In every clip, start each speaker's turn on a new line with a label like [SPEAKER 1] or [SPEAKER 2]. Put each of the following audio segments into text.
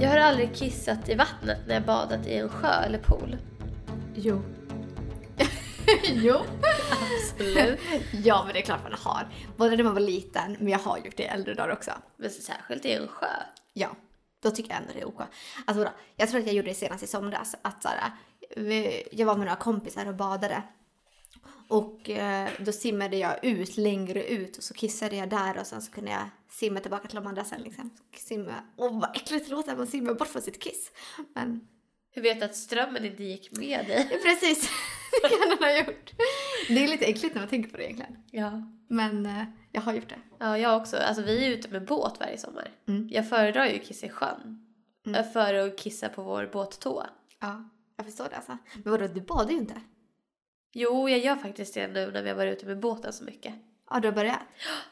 [SPEAKER 1] Jag har aldrig kissat i vattnet när jag badat i en sjö eller pool.
[SPEAKER 2] Jo. jo.
[SPEAKER 1] Absolut.
[SPEAKER 2] Ja, men det är klart man har. Både när man var liten, men jag har gjort det i äldre dagar också.
[SPEAKER 1] Men särskilt i en sjö.
[SPEAKER 2] Ja, då tycker jag ändå det är OK. Alltså, då, jag tror att jag gjorde det senast i somras. Att, så här, vi- jag var med några kompisar och badade. Och eh, då simmade jag ut, längre ut och så kissade jag där och sen så kunde jag simma tillbaka till de andra sen liksom. Simma. Åh vad äckligt det låter att man simmar bort från sitt kiss. Men
[SPEAKER 1] Hur vet du att strömmen inte gick med dig?
[SPEAKER 2] precis, det kan man ha gjort. Det är lite äckligt när man tänker på det egentligen.
[SPEAKER 1] Ja.
[SPEAKER 2] Men eh, jag har gjort det.
[SPEAKER 1] Ja, jag också. Alltså vi är ute med båt varje sommar.
[SPEAKER 2] Mm.
[SPEAKER 1] Jag föredrar ju att kissa i sjön.
[SPEAKER 2] Mm.
[SPEAKER 1] Eh, Före att kissa på vår båttoa.
[SPEAKER 2] Ja, jag förstår det alltså. Men vadå, du badar ju inte.
[SPEAKER 1] Jo, jag gör faktiskt det nu när vi har varit ute med båten så mycket.
[SPEAKER 2] Ja, du har börjat.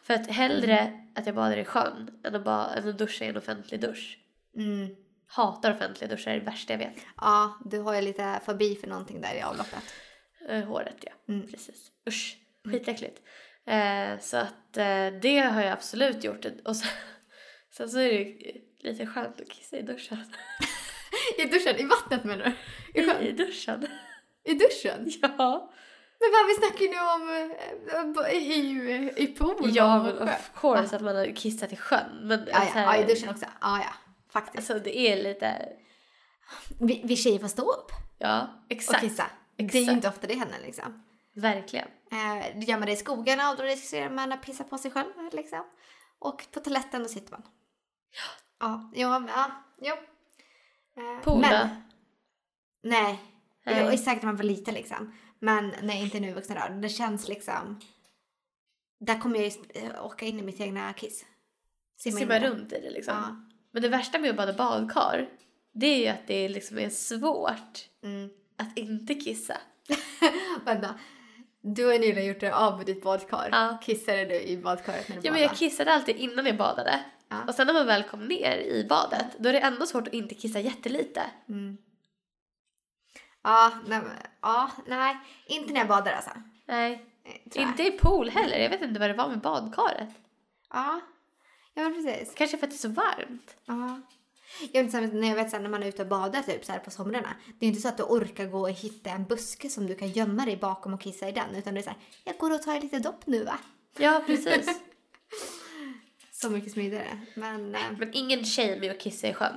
[SPEAKER 1] För att hellre att jag badar i sjön än att, ba- än att duscha i en offentlig dusch.
[SPEAKER 2] Mm.
[SPEAKER 1] Hatar offentliga duschar, det är det värsta jag vet.
[SPEAKER 2] Ja, du har ju lite fobi för någonting där i avloppet.
[SPEAKER 1] Eh, Håret ja,
[SPEAKER 2] Mm.
[SPEAKER 1] precis. Usch, skitäckligt. Eh, så att eh, det har jag absolut gjort. Och sen, sen så är det ju lite skönt att kissa i duschen.
[SPEAKER 2] I duschen? I vattnet menar du? I, sjön?
[SPEAKER 1] I duschen.
[SPEAKER 2] I duschen?
[SPEAKER 1] Ja.
[SPEAKER 2] Men vad vi snackar ju nu om eh, eh, i, i poolen.
[SPEAKER 1] Ja,
[SPEAKER 2] och
[SPEAKER 1] men
[SPEAKER 2] sjö.
[SPEAKER 1] of course att man har kissat i sjön. Men
[SPEAKER 2] Ja, ja,
[SPEAKER 1] så
[SPEAKER 2] ja,
[SPEAKER 1] här-
[SPEAKER 2] i duschen också. Ja, ja. Faktiskt.
[SPEAKER 1] Alltså det är lite...
[SPEAKER 2] Vi, vi tjejer får stå upp
[SPEAKER 1] Ja,
[SPEAKER 2] och
[SPEAKER 1] exakt.
[SPEAKER 2] kissa. Det är ju
[SPEAKER 1] Exakt.
[SPEAKER 2] inte ofta det händer liksom.
[SPEAKER 1] Verkligen.
[SPEAKER 2] Eh, Då gör man det i skogarna och då riskerar man att pissa på sig själv liksom. Och på toaletten då sitter man. Ja, ja, men, ja, jo. Eh,
[SPEAKER 1] Pool då?
[SPEAKER 2] Nej.
[SPEAKER 1] Nej.
[SPEAKER 2] Jo, säkert när man var liten liksom. Men nej, inte nu i vuxna dagar. Det känns liksom... Där kommer jag ju sp- eh, åka in i mitt egna kiss. in
[SPEAKER 1] Simma
[SPEAKER 2] i det.
[SPEAKER 1] runt i det liksom.
[SPEAKER 2] Ja.
[SPEAKER 1] Men det värsta med att bada badkar, det är ju att det liksom är svårt
[SPEAKER 2] Mm.
[SPEAKER 1] att inte kissa.
[SPEAKER 2] Vänta. Du har ju nyligen gjort det av med ditt badkar.
[SPEAKER 1] Ja.
[SPEAKER 2] Kissade du i badkaret när du
[SPEAKER 1] Ja, men jag kissade alltid innan jag badade.
[SPEAKER 2] Ja.
[SPEAKER 1] Och sen när man väl kom ner i badet, då är det ändå svårt att inte kissa jättelite.
[SPEAKER 2] Mm. Ja, nej, men- ja, nej. Inte när jag badar alltså.
[SPEAKER 1] Nej,
[SPEAKER 2] Eh, tror jag.
[SPEAKER 1] inte i pool heller. Jag vet inte vad det var med badkaret.
[SPEAKER 2] Ja. ja, men precis.
[SPEAKER 1] Kanske för att det är så varmt.
[SPEAKER 2] Ja. Jag vet, inte, när jag vet så här, när man är ute och badar typ, så här, på somrarna. Det är inte så att du orkar gå och hitta en buske som du kan gömma dig bakom och kissa i den. Utan det är så här, jag går och tar lite dopp nu va.
[SPEAKER 1] Ja, precis.
[SPEAKER 2] Så mycket smidigare. Men eh,
[SPEAKER 1] men ingen tjej med att kissa i sjön.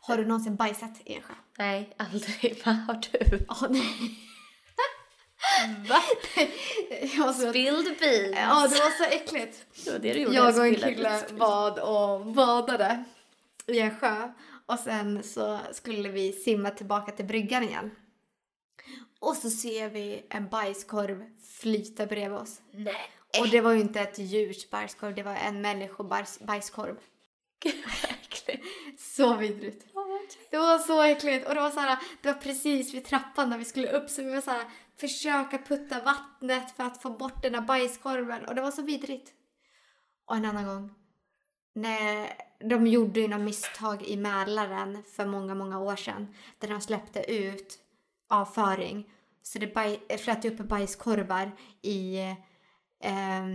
[SPEAKER 2] har du någonsin bajsat i en sjö?
[SPEAKER 1] Nej, aldrig. Vad har du?
[SPEAKER 2] Ja, nej.
[SPEAKER 1] Va?
[SPEAKER 2] Jag var så,
[SPEAKER 1] Spilled beans.
[SPEAKER 2] ja, det var så äckligt.
[SPEAKER 1] Det var det du gjorde.
[SPEAKER 2] Jag och en
[SPEAKER 1] spillade
[SPEAKER 2] kille
[SPEAKER 1] beans.
[SPEAKER 2] bad och badade i en sjö. Och sen så skulle vi simma tillbaka till bryggan igen. Och så ser vi en bajskorv flyta bredvid oss.
[SPEAKER 1] Nej.
[SPEAKER 2] Och det var ju inte ett djurs bajskorv, det var en människobajs- bajskorv.
[SPEAKER 1] Gud vad äckligt.
[SPEAKER 2] Så vidrigt. Det var så äckligt. Och det var, så här, det var precis vid trappan där vi skulle upp så vi var så här, försöka putta vattnet för att få bort den där bajskorven. Och det var så vidrigt. Och en annan gång. När de gjorde ju något misstag i Mälaren för många, många år sedan. Där de släppte ut avföring. Så det baj- flöt upp bajskorvar i, eh,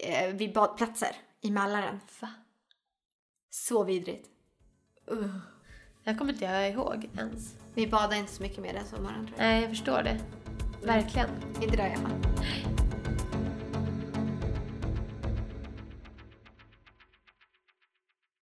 [SPEAKER 2] eh, vid badplatser i Mälaren.
[SPEAKER 1] Va?
[SPEAKER 2] Så vidrigt. Uh.
[SPEAKER 1] Det här kommer inte jag ihåg ens.
[SPEAKER 2] Vi badade inte så mycket mer den sommaren tror jag.
[SPEAKER 1] Nej, jag förstår det. Verkligen.
[SPEAKER 2] Inte där i alla fall.